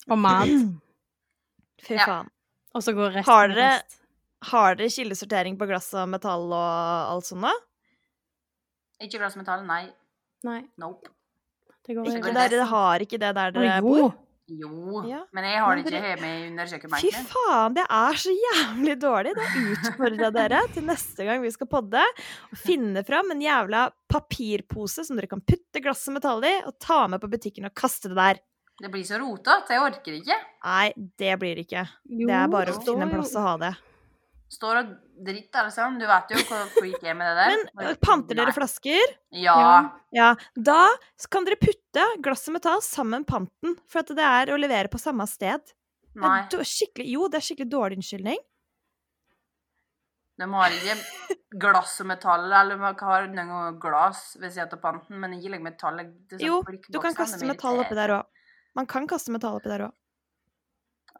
Speaker 3: og mat,
Speaker 2: Fy
Speaker 1: Ja.
Speaker 2: faen.
Speaker 3: og så går resten
Speaker 2: Har
Speaker 3: i
Speaker 2: dere-
Speaker 3: rest.
Speaker 2: Har dere kildesortering på glass og metall og alt sånt da?
Speaker 1: Ikke glassmetall, nei.
Speaker 3: Nei,
Speaker 1: Nope.
Speaker 3: det går
Speaker 1: Ikke
Speaker 2: Ikke
Speaker 3: i
Speaker 1: glass.
Speaker 3: rest.
Speaker 2: dere har ikke det eh, der dere
Speaker 3: Å,
Speaker 2: bor?
Speaker 3: jo.
Speaker 1: Jo,
Speaker 2: Ja.
Speaker 1: men jeg har det
Speaker 2: Men
Speaker 1: ikke
Speaker 2: dere-
Speaker 1: hjemme under
Speaker 2: Fy
Speaker 1: kjøkkenbenken.
Speaker 2: faen, det er så jævlig dårlig. Da utfordrer jeg dere til neste gang vi skal podde, å finne fram en jævla papirpose som dere kan putte glass og metall i, og ta med på butikken og kaste det der.
Speaker 1: Det blir så rotete, jeg orker ikke.
Speaker 2: Nei, det blir det ikke.
Speaker 3: Jo,
Speaker 2: Det er bare å
Speaker 3: står
Speaker 2: finne en
Speaker 3: jo-
Speaker 2: plass å ha det.
Speaker 1: Står og dritt, alle sammen. Du vet jo hvor freak jeg er med det der.
Speaker 2: Men øh, panter dere flasker?
Speaker 1: Nei. Ja.
Speaker 3: Ja.
Speaker 2: Ja. Da kan dere putte glass og metall sammen panten, for at det er å levere på samme sted. Det
Speaker 1: Nei.
Speaker 2: er dår- skikkelig, jo, det er skikkelig dårlig unnskyldning.
Speaker 1: De har ikke glass og metall, eller de har noe glass ved siden av panten, men ikke legge metall. Det er sånn
Speaker 2: Jo,
Speaker 1: blikkboksen,
Speaker 2: Du kan
Speaker 1: det
Speaker 2: kaste
Speaker 1: blir
Speaker 2: metall oppi der òg. Man kan kaste metall oppi der òg.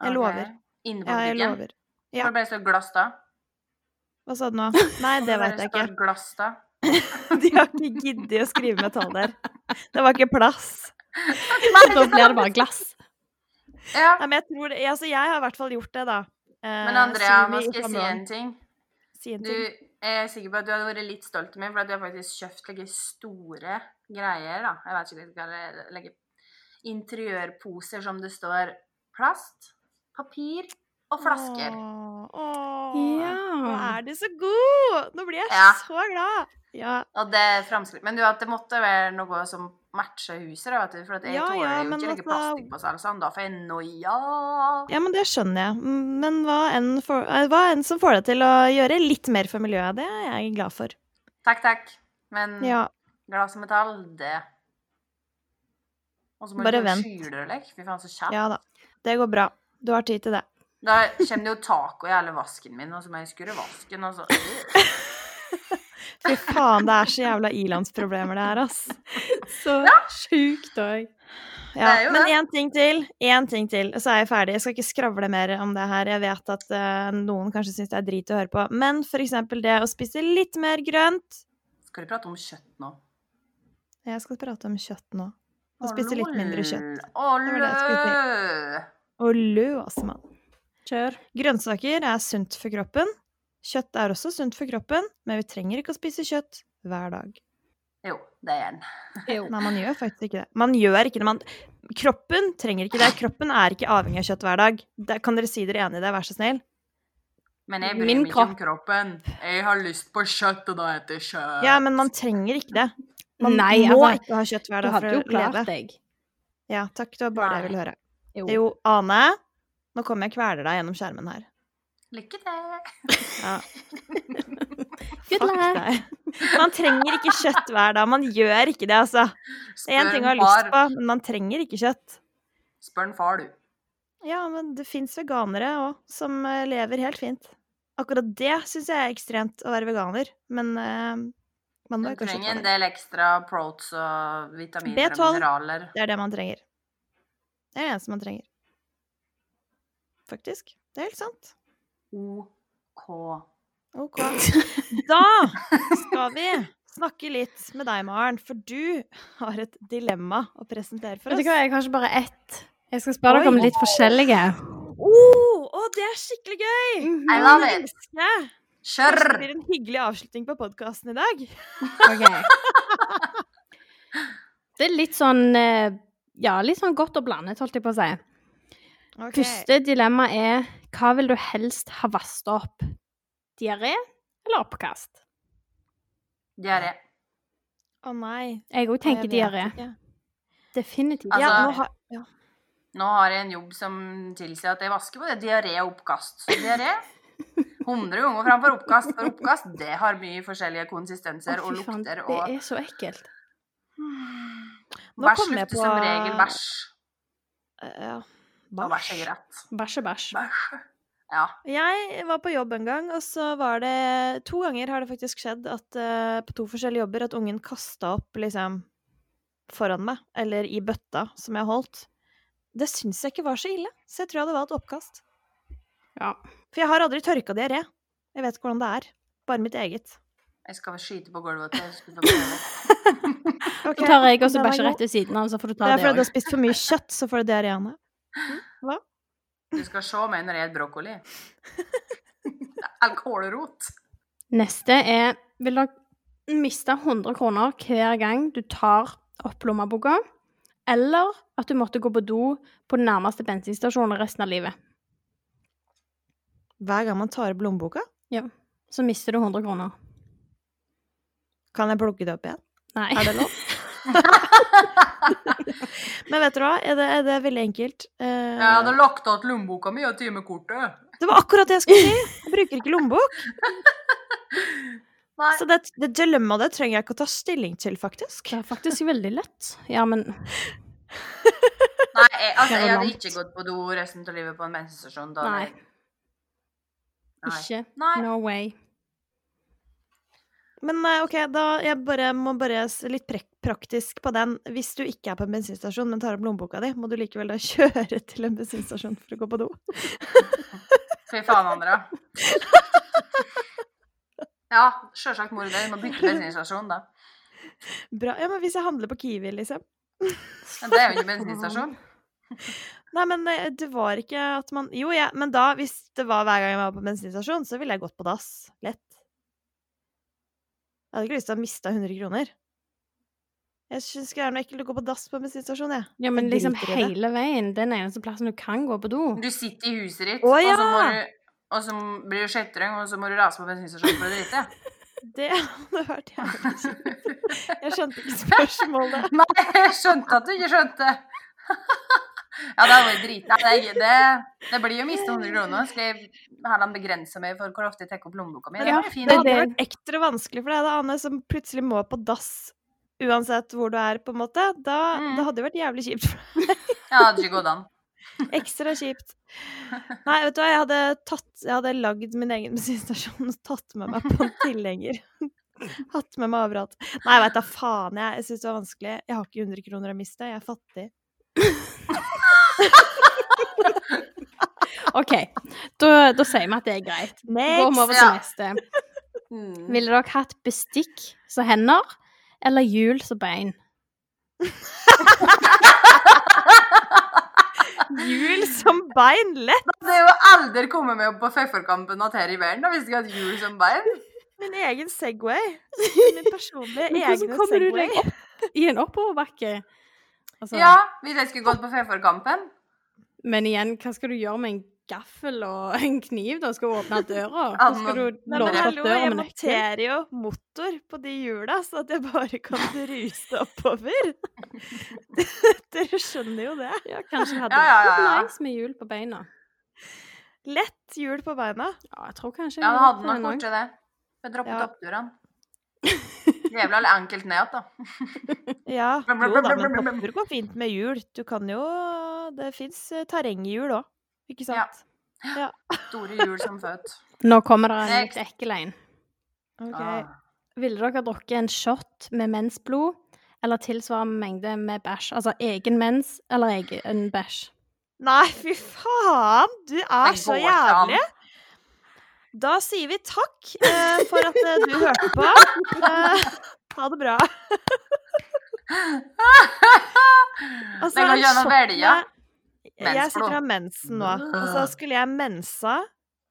Speaker 2: Jeg
Speaker 1: Ok.
Speaker 2: lover.
Speaker 1: Inne på
Speaker 2: Ja, jeg
Speaker 1: butikken?
Speaker 2: lover. ja.
Speaker 1: Hvor ble det stått glass da?
Speaker 2: Hva sa du nå? Nei, det
Speaker 1: Hvor ble
Speaker 2: veit jeg ikke.
Speaker 1: stått glass da?
Speaker 2: De har ikke giddet å skrive metall der. Det var ikke plass.
Speaker 3: Da blir det bare glass.
Speaker 1: Ja.
Speaker 2: Nei, men jeg tror det ja, Altså, jeg har i hvert fall gjort det, da. Eh,
Speaker 1: Men Andrea,
Speaker 2: Sumi
Speaker 1: nå
Speaker 2: i
Speaker 1: skal jeg si
Speaker 2: Cameron.
Speaker 1: en ting.
Speaker 2: Si en
Speaker 1: Du,
Speaker 2: ting.
Speaker 1: jeg er sikker på at du hadde vært litt stolt av meg, for at du har faktisk kjøpt like store greier, da. Jeg vet ikke hva det er. Like interiørposer som det står plast, papir og flasker.
Speaker 2: Åh, åh, Nå
Speaker 3: Ja.
Speaker 2: er du så god! Nå blir jeg
Speaker 1: Ja.
Speaker 2: så glad! Ja,
Speaker 1: Og det er framskritt. Men du, at det måtte være noe som matcher huset, da, vet du. For at jeg
Speaker 2: Ja,
Speaker 1: tåler
Speaker 2: ja,
Speaker 1: jo
Speaker 2: men
Speaker 1: ikke like
Speaker 2: altså-
Speaker 1: plastikkposer, sånn. Da får jeg noia.
Speaker 2: ja men det skjønner jeg. Mm, Men hva enn, for, eh, hva enn som får deg til å gjøre litt mer for miljøet, det er jeg glad for.
Speaker 1: Takk, takk. Men
Speaker 2: Ja.
Speaker 1: glass og metall, det Og så må
Speaker 2: Bare
Speaker 1: du
Speaker 2: vent.
Speaker 1: skyle det vekk. Fy faen, så kjapt.
Speaker 2: ja da. Det går bra. Du har tid til det.
Speaker 1: Da kommer det jo taco i hele vasken min, og så må jeg skure vasken, og så
Speaker 2: Fy faen, det er så jævla ilandsproblemer det her, ass.
Speaker 3: Så sjukt òg.
Speaker 2: Ja,
Speaker 1: Det er jo
Speaker 2: men
Speaker 1: det.
Speaker 2: én ting til, én ting til, og så er jeg ferdig. Jeg skal ikke skravle mer om det her. Jeg vet at eh, noen kanskje syns det er drit å høre på, men for eksempel det å spise litt mer grønt
Speaker 1: Skal du prate om kjøtt nå?
Speaker 2: Jeg skal prate om kjøtt nå. Og spise litt mindre kjøtt.
Speaker 1: Å,
Speaker 2: Det
Speaker 1: lø!
Speaker 2: var det jeg Og lø, altså, mann.
Speaker 3: Kjør.
Speaker 2: Grønnsaker er sunt for kroppen. Kjøtt er også sunt for kroppen, men vi trenger ikke å spise kjøtt hver dag.
Speaker 1: Jo, det er den.
Speaker 3: Jo.
Speaker 2: Nei, man gjør faktisk ikke det. Man gjør ikke det. Man, kroppen trenger ikke det. Kroppen er ikke avhengig av kjøtt hver dag. Det, kan dere si dere enig i det, vær så snill?
Speaker 1: Men jeg bryr
Speaker 3: Min
Speaker 1: meg ikke om kroppen. Jeg har lyst på kjøtt, og da heter det kjøtt.
Speaker 2: Ja, men man trenger ikke det. Man
Speaker 3: Nei, jeg
Speaker 2: må
Speaker 3: bare-
Speaker 2: ikke ha kjøtt hver
Speaker 3: Du
Speaker 2: dag
Speaker 3: hadde
Speaker 2: for å
Speaker 3: jo
Speaker 2: leve.
Speaker 3: klart deg.
Speaker 2: Ja, takk, det var bare det jeg ville høre.
Speaker 3: Jo.
Speaker 2: Jo, Ane, nå kommer jeg og kveler deg gjennom skjermen her.
Speaker 1: Lykke til!
Speaker 2: Ja. Fuck
Speaker 3: Good luck!
Speaker 2: deg. Man trenger ikke kjøtt hver dag. Man gjør ikke det, altså. Det er én ting å ha lyst på, men man trenger ikke kjøtt.
Speaker 1: Spør en far, du.
Speaker 2: Ja, men det fins veganere òg, som eh, lever helt fint. Akkurat det syns jeg er ekstremt, å være veganer. Men eh, man
Speaker 1: Du
Speaker 2: må jo kanskje
Speaker 1: trenger en
Speaker 2: ikke det.
Speaker 1: del ekstra proats og vitaminer
Speaker 2: B12.
Speaker 1: og mineraler.
Speaker 2: Det er det man trenger. Det er det eneste man trenger. Faktisk. Det er helt sant.
Speaker 1: OK.
Speaker 2: Ok. Da skal vi snakke litt med deg, Maren, for du har et dilemma å presentere for
Speaker 3: Vet
Speaker 2: oss.
Speaker 3: du hva, jeg har ikke bare ett. Jeg skal spørre dere om
Speaker 2: Oi.
Speaker 3: litt forskjellige.
Speaker 2: Oh, å, det er skikkelig gøy!
Speaker 1: I
Speaker 3: Mhm.
Speaker 1: love it!
Speaker 2: Elsker jeg. Kanskje Det
Speaker 1: Kjør!
Speaker 2: blir en hyggelig avslutning på podkasten i dag.
Speaker 3: Ok. Det er litt sånn eh, Ja, litt sånn godt og blandet, holdt jeg på å si.
Speaker 2: Ok.
Speaker 3: Første dilemma er hva vil du helst ha vasket opp? Diaré eller oppkast?
Speaker 1: Diaré.
Speaker 2: Å nei.
Speaker 3: Jeg òg tenker
Speaker 2: Jeg vet
Speaker 3: diaré.
Speaker 2: ikke.
Speaker 3: Definitivt.
Speaker 2: Ja,
Speaker 1: Altså-
Speaker 2: nå har, ja.
Speaker 1: Nå har jeg en jobb som tilsier at jeg vasker på det. Diaré og oppkast. Så diaré 100 ganger framfor oppkast, for oppkast det har mye forskjellige konsistenser
Speaker 3: Å,
Speaker 1: og
Speaker 3: fy faen,
Speaker 1: lukter
Speaker 3: Det
Speaker 1: og
Speaker 3: er så ekkelt.
Speaker 2: Nå
Speaker 1: Bæsj
Speaker 2: kom jeg
Speaker 1: lukter
Speaker 2: på- Eh,
Speaker 1: som regel bæsj.
Speaker 2: Ja.
Speaker 1: Og bæsj er
Speaker 2: Bæsj.
Speaker 1: greit.
Speaker 3: Bæsj er bæsj.
Speaker 1: Bæsj. Ja.
Speaker 2: Jeg var på jobb en gang, og så var det To ganger har det faktisk skjedd at eh, på to forskjellige jobber at ungen kasta opp liksom foran meg, eller i bøtta som jeg holdt. Det syns jeg ikke var så ille, så jeg tror jeg hadde valgt oppkast.
Speaker 3: Ja.
Speaker 2: For jeg har aldri tørka diaré. Jeg vet ikke hvordan det er. Bare mitt eget.
Speaker 1: Jeg skal skyte på gulvet til jeg skulle få prøve.
Speaker 2: Ok,
Speaker 3: Så tar jeg også
Speaker 2: den var
Speaker 3: bæsjer
Speaker 2: god.
Speaker 3: rett ved siden av, så får du
Speaker 2: Det
Speaker 3: ta
Speaker 2: er
Speaker 3: det
Speaker 2: fordi du
Speaker 3: òg.
Speaker 2: har spist for mye kjøtt, så får du diaré av det.
Speaker 1: Du skal se meg når jeg spiser brokkoli. Det er Alkoholrot.
Speaker 3: Neste er Vil dere miste 100 kroner hver gang du tar opp lommeboka? Eller at du måtte gå på do på den nærmeste bensinstasjonen resten av livet?
Speaker 2: Hver gang man tar opp lommeboka,
Speaker 3: Så mister du 100 kroner.
Speaker 2: kan jeg plukke det opp igjen.
Speaker 3: Nei.
Speaker 2: Er det lov? Men vet du hva, det, det er veldig enkelt. Eh,
Speaker 1: Jeg hadde lagt av lommeboka mi og timekortet.
Speaker 2: det var akkurat det jeg skulle si! Jeg bruker ikke lommebok.
Speaker 1: Nei.
Speaker 2: Så det, det dilemmaet det trenger jeg ikke å ta stilling til, faktisk.
Speaker 3: Det er faktisk veldig lett. Ja, men
Speaker 1: Nei, jeg, altså,
Speaker 3: Det var
Speaker 1: jeg hadde
Speaker 3: langt.
Speaker 1: ikke gått på do resten av livet på en bensinstasjon. da.
Speaker 3: Nei.
Speaker 1: Nei.
Speaker 3: ikke.
Speaker 1: Nei.
Speaker 3: No way.
Speaker 2: Men eh, ok, da jeg bare, må bare s- litt prek praktisk på den. Hvis du ikke er på en bensinstasjon, men tar opp lommeboka di, må du likevel da kjøre til en bensinstasjon for å gå på do.
Speaker 1: Fy faen, Andrea. Ja, sjølsagt mor di. Må bytte bensinstasjon, da.
Speaker 2: Bra. Ja, men hvis jeg handler på Kiwi, liksom.
Speaker 1: Men det er jo ikke bensinstasjon.
Speaker 2: Nei, men eh, det var ikke at man Jo, ja, men da, hvis det var hver gang jeg var på bensinstasjon, så ville jeg gått på dass. Lett. Jeg hadde ikke lyst til å ha mista 100 kroner. Jeg syns det er noe ekkelt å gå på dass på en bensinstasjon, jeg.
Speaker 3: Ja, men
Speaker 2: Jeg
Speaker 3: liksom
Speaker 2: driter i det.
Speaker 3: hele veien. Den eneste plassen du kan gå på do.
Speaker 1: Du sitter i huset ditt,
Speaker 2: Å,
Speaker 1: og så må
Speaker 2: ja.
Speaker 1: du og så blir du skjetterøng, og så må du rase på bensinstasjonen for å drite.
Speaker 2: Det hadde vært jævlig kjipt. Jeg skjønte ikke spørsmålet.
Speaker 1: Nei, jeg skjønte at du ikke skjønte. Ja, det er jo drit. Nei, det, det, det blir jo å miste 100 kroner. Skal jeg heller begrense meg for hvor ofte jeg tar opp lommeboka mi? Det
Speaker 3: Ja,
Speaker 1: var jo
Speaker 2: Det
Speaker 1: fint.
Speaker 2: hadde
Speaker 3: det-
Speaker 2: vært ekstra vanskelig for deg, da, Anne, som plutselig må på dass uansett hvor du er, på en måte. Da,
Speaker 1: Mm.
Speaker 2: Det hadde jo vært jævlig kjipt.
Speaker 1: Ja, det hadde ikke gått an.
Speaker 2: Ekstra kjipt. Nei, vet du hva, jeg hadde, tatt, jeg hadde lagd min egen bensinstasjon og tatt med meg på en tilhenger. Hatt med meg overalt. Nei, veit da faen, jeg, jeg syns det var vanskelig. Jeg har ikke 100 kroner å miste, jeg er fattig.
Speaker 3: OK, da, da sier vi at det er greit. Går vi over
Speaker 2: Next!
Speaker 3: til
Speaker 1: Ja.
Speaker 3: neste.
Speaker 1: Mm.
Speaker 3: Ville dere hatt bestikk som hender, eller hjul som bein?
Speaker 2: Hjul som bein, lett!
Speaker 1: Det er jo aldri kommet med opp på Fefferkampen at her i verden. Da visste jeg at jul som bein.
Speaker 2: Min egen Segway. Min personlige
Speaker 3: Men hvordan
Speaker 2: egne
Speaker 3: kommer du
Speaker 2: Segway.
Speaker 3: deg I en oppoverbakke?
Speaker 2: Sånn.
Speaker 3: Altså,
Speaker 1: Ja, hvis jeg skulle gått på Fefferkampen.
Speaker 3: Men igjen, hva skal du gjøre med en gaffel og en kniv? da? Skal du åpne døra?
Speaker 1: Ja,
Speaker 3: Da skal
Speaker 1: men-
Speaker 3: du
Speaker 2: Nei, men
Speaker 3: låse opp
Speaker 2: hallo,
Speaker 3: døra
Speaker 2: jeg
Speaker 3: med nøkkel?
Speaker 2: monterer jo motor på de hjula, så at jeg bare kan ruse oppover. Dere skjønner jo det.
Speaker 3: Ja, kanskje hadde
Speaker 1: Ja, ja, ja, ja.
Speaker 3: vært nice med hjul på beina.
Speaker 2: Lett hjul på beina.
Speaker 3: Ja, jeg tror kanskje
Speaker 1: Ja, han hadde
Speaker 3: jeg
Speaker 1: nok
Speaker 3: var på
Speaker 1: borti det. Jeg droppet
Speaker 2: Ja.
Speaker 1: oppturene. Jævla enkelt ned igjen, da.
Speaker 2: Ja,
Speaker 1: Blum, blum,
Speaker 2: jo da,
Speaker 1: blum, blum,
Speaker 2: men
Speaker 1: blum, blum.
Speaker 2: hopper går fint med hjul. Du kan jo Det fins terrenghjul òg, ikke
Speaker 1: Ja.
Speaker 2: sant?
Speaker 1: Store hjul som født.
Speaker 3: en gang. Nå kommer det en
Speaker 1: Next.
Speaker 3: litt ekkel en.
Speaker 2: Ok.
Speaker 1: Ah.
Speaker 3: Ville dere drukket en shot med mensblod eller tilsvarende mengde med bæsj? Altså egen mens eller egen bæsj?
Speaker 2: Nei, fy faen! Du er
Speaker 1: Det
Speaker 2: Ah, så
Speaker 1: går ikke an.
Speaker 2: jævlig! Da sier vi takk eh, for at eh, du hørte på. Eh, ha det bra.
Speaker 1: Det går ikke an å velge.
Speaker 2: Jeg sitter
Speaker 1: Mensblod.
Speaker 2: og har mensen nå. Og så skulle jeg mensa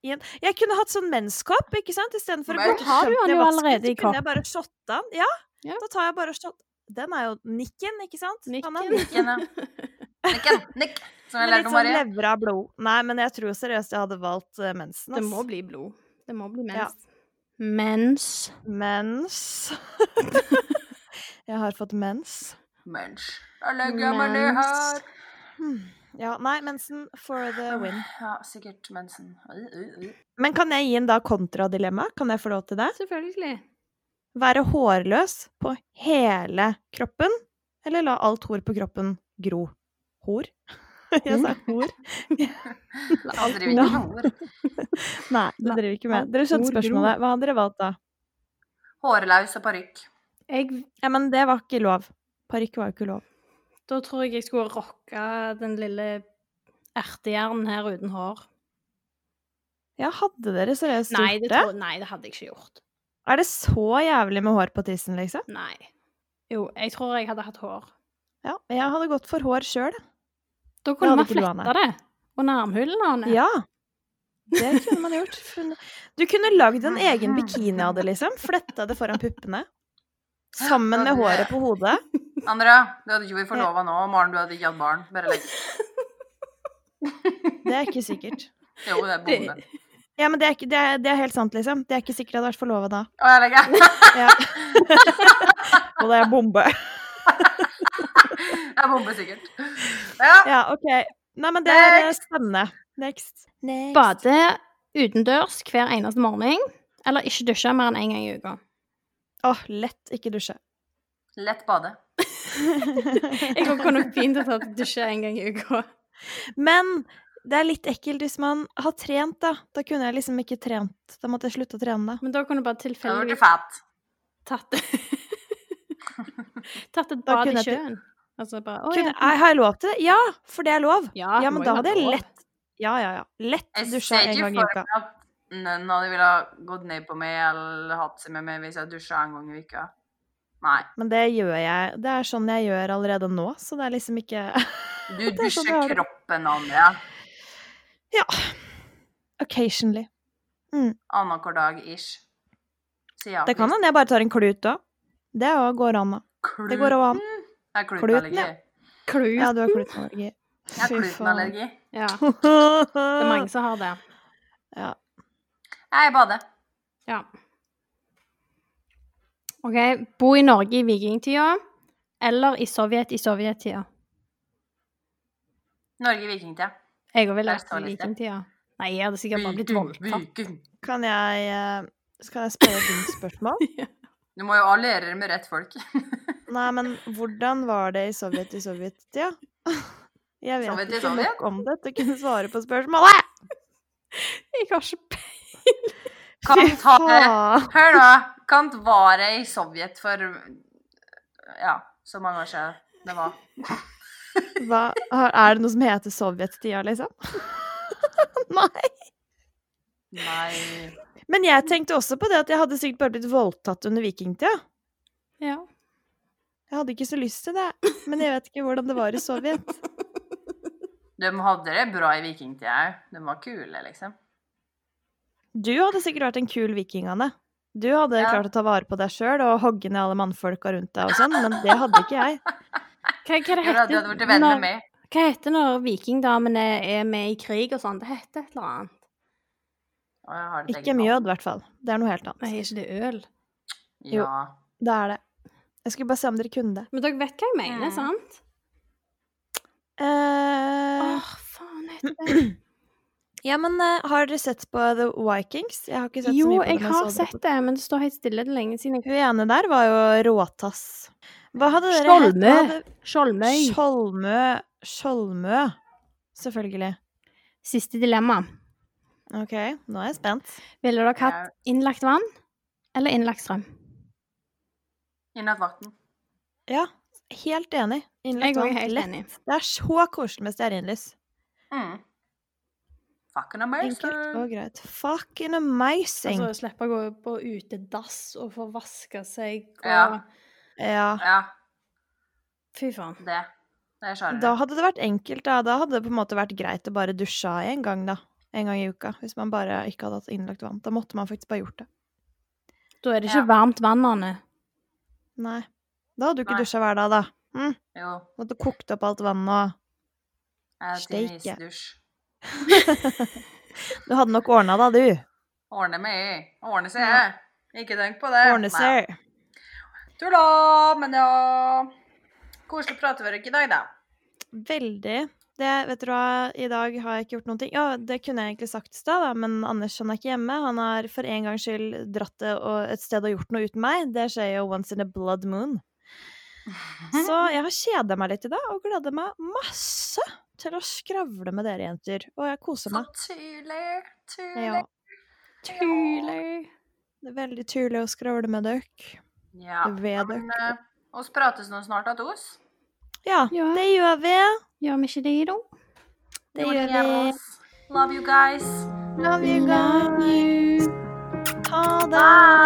Speaker 2: i en Jeg kunne hatt sånn menskopp, ikke sant? Istedenfor å
Speaker 1: Men
Speaker 2: gå og
Speaker 3: har du
Speaker 2: kjøpe
Speaker 3: den jo
Speaker 2: vasken, så
Speaker 3: allerede i
Speaker 2: Kunne jeg bare shotta den? Ja,
Speaker 3: Ja.
Speaker 2: da tar jeg bare shot... Den er jo nikken, ikke sant? Han er
Speaker 3: Nikken.
Speaker 1: Nikken, ja. Nikken, nikk, som jeg
Speaker 2: Med
Speaker 1: lærte
Speaker 2: litt
Speaker 1: av
Speaker 2: sånn
Speaker 1: Marie.
Speaker 2: lever av blod. Nei, men jeg tror seriøst jeg hadde valgt eh, mensen.
Speaker 3: Det
Speaker 2: ass.
Speaker 3: må bli blod. Det må bli mens.
Speaker 2: Ja.
Speaker 3: Mens.
Speaker 2: Mens Jeg har fått mens.
Speaker 1: Mens. Da legger jeg meg ned
Speaker 3: Mens.
Speaker 1: her.
Speaker 2: Hmm. Ja, nei, mensen for
Speaker 3: Ah.
Speaker 2: the win.
Speaker 1: Ja, sikkert mensen. Ui, ui, ui.
Speaker 2: Men kan jeg gi en da kontradilemma? Kan jeg få lov til det?
Speaker 3: Selvfølgelig.
Speaker 2: Være hårløs på hele kroppen, eller la alt hår på kroppen gro? Hår? Jeg sa hor.
Speaker 1: Han driver ikke med hår.
Speaker 2: Nei, det driver vi ikke med. Dere skjønte
Speaker 3: Hår gro.
Speaker 2: spørsmålet. Hva hadde dere valgt da?
Speaker 1: Hårlaus og parykk.
Speaker 3: Jeg,
Speaker 2: Ja, men det var ikke lov. Parykk var jo ikke lov.
Speaker 3: da tror jeg jeg skulle rocka den lille ertehjernen her uten hår.
Speaker 2: Ja, hadde dere seriøst
Speaker 3: Nei
Speaker 2: gjort
Speaker 3: det,
Speaker 2: det?
Speaker 3: tror, nei, det hadde jeg ikke gjort.
Speaker 2: Er det så jævlig med hår på tissen, liksom?
Speaker 3: Nei. Jo, jeg tror jeg hadde hatt hår.
Speaker 2: Ja, jeg hadde gått for hår sjøl.
Speaker 3: Da
Speaker 2: hadde
Speaker 3: kunne man
Speaker 2: ikke du, Anne.
Speaker 3: fletta det under armhulene hans.
Speaker 2: Ja. Det kunne man gjort. Hun- Du kunne lagd en egen bikini av det, liksom. Fletta det foran puppene. Sammen med håret på hodet.
Speaker 1: Andrea, du hadde ikke vært forlova nå. og Maren, du hadde ikke hatt barn. Bare legg
Speaker 2: Det er ikke sikkert.
Speaker 1: Jo, det er bombe.
Speaker 3: Det-
Speaker 2: Ja, men det er, ikke, det, er, det er helt sant, liksom. Det er ikke sikkert jeg hadde vært forlova da.
Speaker 1: Å, jeg legger.
Speaker 2: Ja. Og det er bombe.
Speaker 1: Jeg er bombe sikkert. Ja.
Speaker 2: Ja, OK. Nei, men det er eh, spennende. Next. Next.
Speaker 3: Bade utendørs hver eneste morgen, eller ikke dusje mer enn én en gang i uka.
Speaker 2: Åh, lett ikke dusje.
Speaker 1: Lett bade.
Speaker 3: Jeg kan kunne fint ha tatt dusje en gang i uka.
Speaker 2: men det er litt ekkelt hvis man har trent, da. Da kunne jeg liksom ikke trent. Da måtte jeg slutte å trene, da.
Speaker 3: Men da kunne du bare
Speaker 1: Du hadde blitt
Speaker 3: tilfeldigvis
Speaker 1: fat.
Speaker 3: tatt Tatt et
Speaker 2: Da
Speaker 3: bad
Speaker 2: kunne
Speaker 3: i
Speaker 2: jeg til-
Speaker 3: sjøen. Altså bare Å,
Speaker 2: Kunne,
Speaker 3: ja.
Speaker 2: jeg, har jeg lov til det? Ja, for det er lov.
Speaker 3: Ja,
Speaker 2: Ja,
Speaker 3: må
Speaker 2: men
Speaker 3: jo
Speaker 2: da
Speaker 3: ha
Speaker 2: hadde jeg
Speaker 3: lov.
Speaker 2: lett Ja, ja, ja. Lett
Speaker 1: Jeg
Speaker 2: dusja
Speaker 1: ser
Speaker 2: en
Speaker 1: ikke
Speaker 2: gang i
Speaker 1: for
Speaker 2: uka.
Speaker 1: meg at noen av de ville ha gått ned på meg eller hatt seg med meg hvis jeg dusja en gang i uka. Nei.
Speaker 2: Men det gjør jeg. Det er sånn jeg gjør allerede nå, så det er liksom ikke
Speaker 1: Du
Speaker 2: Det er
Speaker 1: dusjer
Speaker 2: sånn jeg har det.
Speaker 1: kroppen, Andrea.
Speaker 2: Ja. Occasionally.
Speaker 1: Annenhver dag ish. Sier jeg.
Speaker 2: Det kan hende jeg bare tar en klut òg. Det òg går an, da.
Speaker 1: Kluten.
Speaker 2: Det går òg an.
Speaker 1: Jeg har
Speaker 2: Kluten,
Speaker 1: klutenallergi.
Speaker 2: ja.
Speaker 3: Klut.
Speaker 2: Ja, du har klutenallergi.
Speaker 1: Jeg har klutenallergi.
Speaker 3: Ja. Det er mange
Speaker 2: faen.
Speaker 3: som har det.
Speaker 2: Ja.
Speaker 1: Jeg bader.
Speaker 3: Ja. OK. Bo i Norge i vikingtida eller i Sovjet i sovjettida?
Speaker 1: Norge i vikingtida.
Speaker 3: Jeg ville
Speaker 1: Der
Speaker 3: vært
Speaker 1: står
Speaker 3: i
Speaker 1: liste.
Speaker 3: vikingtida. Nei, jeg hadde sikkert bare blitt
Speaker 1: Viking,
Speaker 3: voldtatt.
Speaker 1: Viking.
Speaker 2: Kan jeg eh, Skal jeg spørre et dumt spørsmål?
Speaker 1: Du må jo alliere deg med rett folk.
Speaker 2: Nei, men hvordan var det i Sovjet i sovjettida? Jeg vet
Speaker 1: Sovjet i
Speaker 2: ikke
Speaker 1: Sovjet?
Speaker 2: nok om det til å kunne svare på spørsmålet!
Speaker 3: Jeg har ikke pe-
Speaker 1: Kan ta det.
Speaker 2: faen.
Speaker 1: Hør nå. Kant var det i Sovjet for ja, så mange år siden det var.
Speaker 2: Hva, har- er det noe som heter sovjettida, liksom? Nei.
Speaker 1: Nei.
Speaker 2: Men jeg tenkte også på det at jeg hadde sikkert bare blitt voldtatt under vikingtida.
Speaker 3: Ja.
Speaker 2: Jeg hadde ikke så lyst til det, men jeg vet ikke hvordan det var i Sovjet.
Speaker 1: De hadde det bra i vikingtida òg. De var kule, liksom.
Speaker 2: Du hadde sikkert vært en kul viking, Anne. Du hadde
Speaker 1: Ja.
Speaker 2: klart å ta vare på deg sjøl og hogge ned alle mannfolka rundt deg og sånn, men det hadde ikke jeg.
Speaker 3: Hva, hva det
Speaker 1: Jo da, du hadde blitt
Speaker 3: heter
Speaker 1: venn med
Speaker 3: når,
Speaker 1: meg.
Speaker 3: hva heter når vikingdamene er med i krig og sånn? Det heter et eller annet.
Speaker 1: Og jeg har det
Speaker 2: Ikke mjød, i hvert fall. Det er noe helt
Speaker 3: Nei,
Speaker 2: annet.
Speaker 3: er ikke det øl?
Speaker 2: Jo.
Speaker 1: Ja.
Speaker 2: Det er det. Jeg skulle bare se om dere kunne det.
Speaker 3: Men dere vet hva jeg mener,
Speaker 1: Mm.
Speaker 3: sant?
Speaker 2: Eh,
Speaker 3: Åh, faen heter det
Speaker 2: Ja, men eh, har dere sett på The Vikings? Jeg har ikke sett så
Speaker 3: Jo,
Speaker 2: mye på det.
Speaker 3: jeg
Speaker 2: men
Speaker 3: har
Speaker 2: så dere
Speaker 3: sett det, men det står helt stille det er lenge siden.
Speaker 2: på- Hun ene der var jo råtass. Hva hadde dere
Speaker 3: Skjolme.
Speaker 2: hett? Hva hadde-
Speaker 3: Skjoldmøy.
Speaker 2: Skjolmø. Skjolmø. Selvfølgelig.
Speaker 3: Siste dilemma.
Speaker 2: OK, nå er jeg spent.
Speaker 3: Ville dere hatt innlagt vann eller innlagt strøm?
Speaker 1: Innlagt vann.
Speaker 2: Ja, helt enig. Innlagt
Speaker 3: Jeg er
Speaker 2: vann.
Speaker 3: helt
Speaker 2: Lett.
Speaker 3: enig.
Speaker 2: Det er så koselig med stearinlys.
Speaker 1: Mm. Fucking
Speaker 2: Enkelt og
Speaker 1: amazing.
Speaker 2: greit. Fucking amazing.
Speaker 3: Altså slippe å gå på utedass og få vaske seg og
Speaker 1: Ja.
Speaker 2: ja.
Speaker 1: Ja,
Speaker 3: Fy faen.
Speaker 1: det. Det er
Speaker 2: Da
Speaker 1: sjarmerende.
Speaker 2: hadde det vært enkelt, da. Da hadde det på en måte vært greit å bare dusje av en gang, da. En gang i uka. Hvis man bare ikke hadde hatt innlagt vann. Da måtte man faktisk bare gjort det.
Speaker 3: Da er det ikke
Speaker 1: Ja.
Speaker 3: varmt vann, Anne.
Speaker 2: Nei. Da hadde du ikke
Speaker 1: Nei.
Speaker 2: dusja hver dag, da. Mm.
Speaker 1: Jo.
Speaker 2: Måtte kokt opp alt vannet og
Speaker 1: Jeg er til
Speaker 2: Steike.
Speaker 1: isdusj.
Speaker 2: Du hadde nok ordna da, du.
Speaker 1: Ordne meg. Ordne seg. Ikke tenk på det.
Speaker 2: Ordne
Speaker 1: Nei.
Speaker 2: seg.
Speaker 1: Tulla, men ja Koselig prateverk i dag, da.
Speaker 2: Veldig. Det, vet du hva, i dag har jeg ikke gjort noen ting. Ja, det kunne jeg egentlig sagt i stad, da, men Anders han er ikke hjemme. Han har for en gangs skyld dratt det og- et sted og gjort noe uten meg. Det skjer jo once in a blood moon. Så jeg har kjeda meg litt i dag, og gleder meg masse til å skravle med dere jenter. Og jeg koser
Speaker 1: Så
Speaker 2: meg.
Speaker 1: tydelig, tydelig.
Speaker 2: Sånn Ja,
Speaker 3: Tuller.
Speaker 2: det er veldig tydelig å skravle med dere.
Speaker 1: Ja.
Speaker 2: Ved dere.
Speaker 1: Men eh, oss prates nå snart att oss.
Speaker 2: Ja,
Speaker 3: Ja.
Speaker 2: det gjør vi.
Speaker 3: Gjør vi ikke det, da?
Speaker 2: Det
Speaker 1: Jo,
Speaker 2: gjør vi.
Speaker 1: oss. Love you guys.
Speaker 2: Love you guys. Ha det.
Speaker 1: Bye.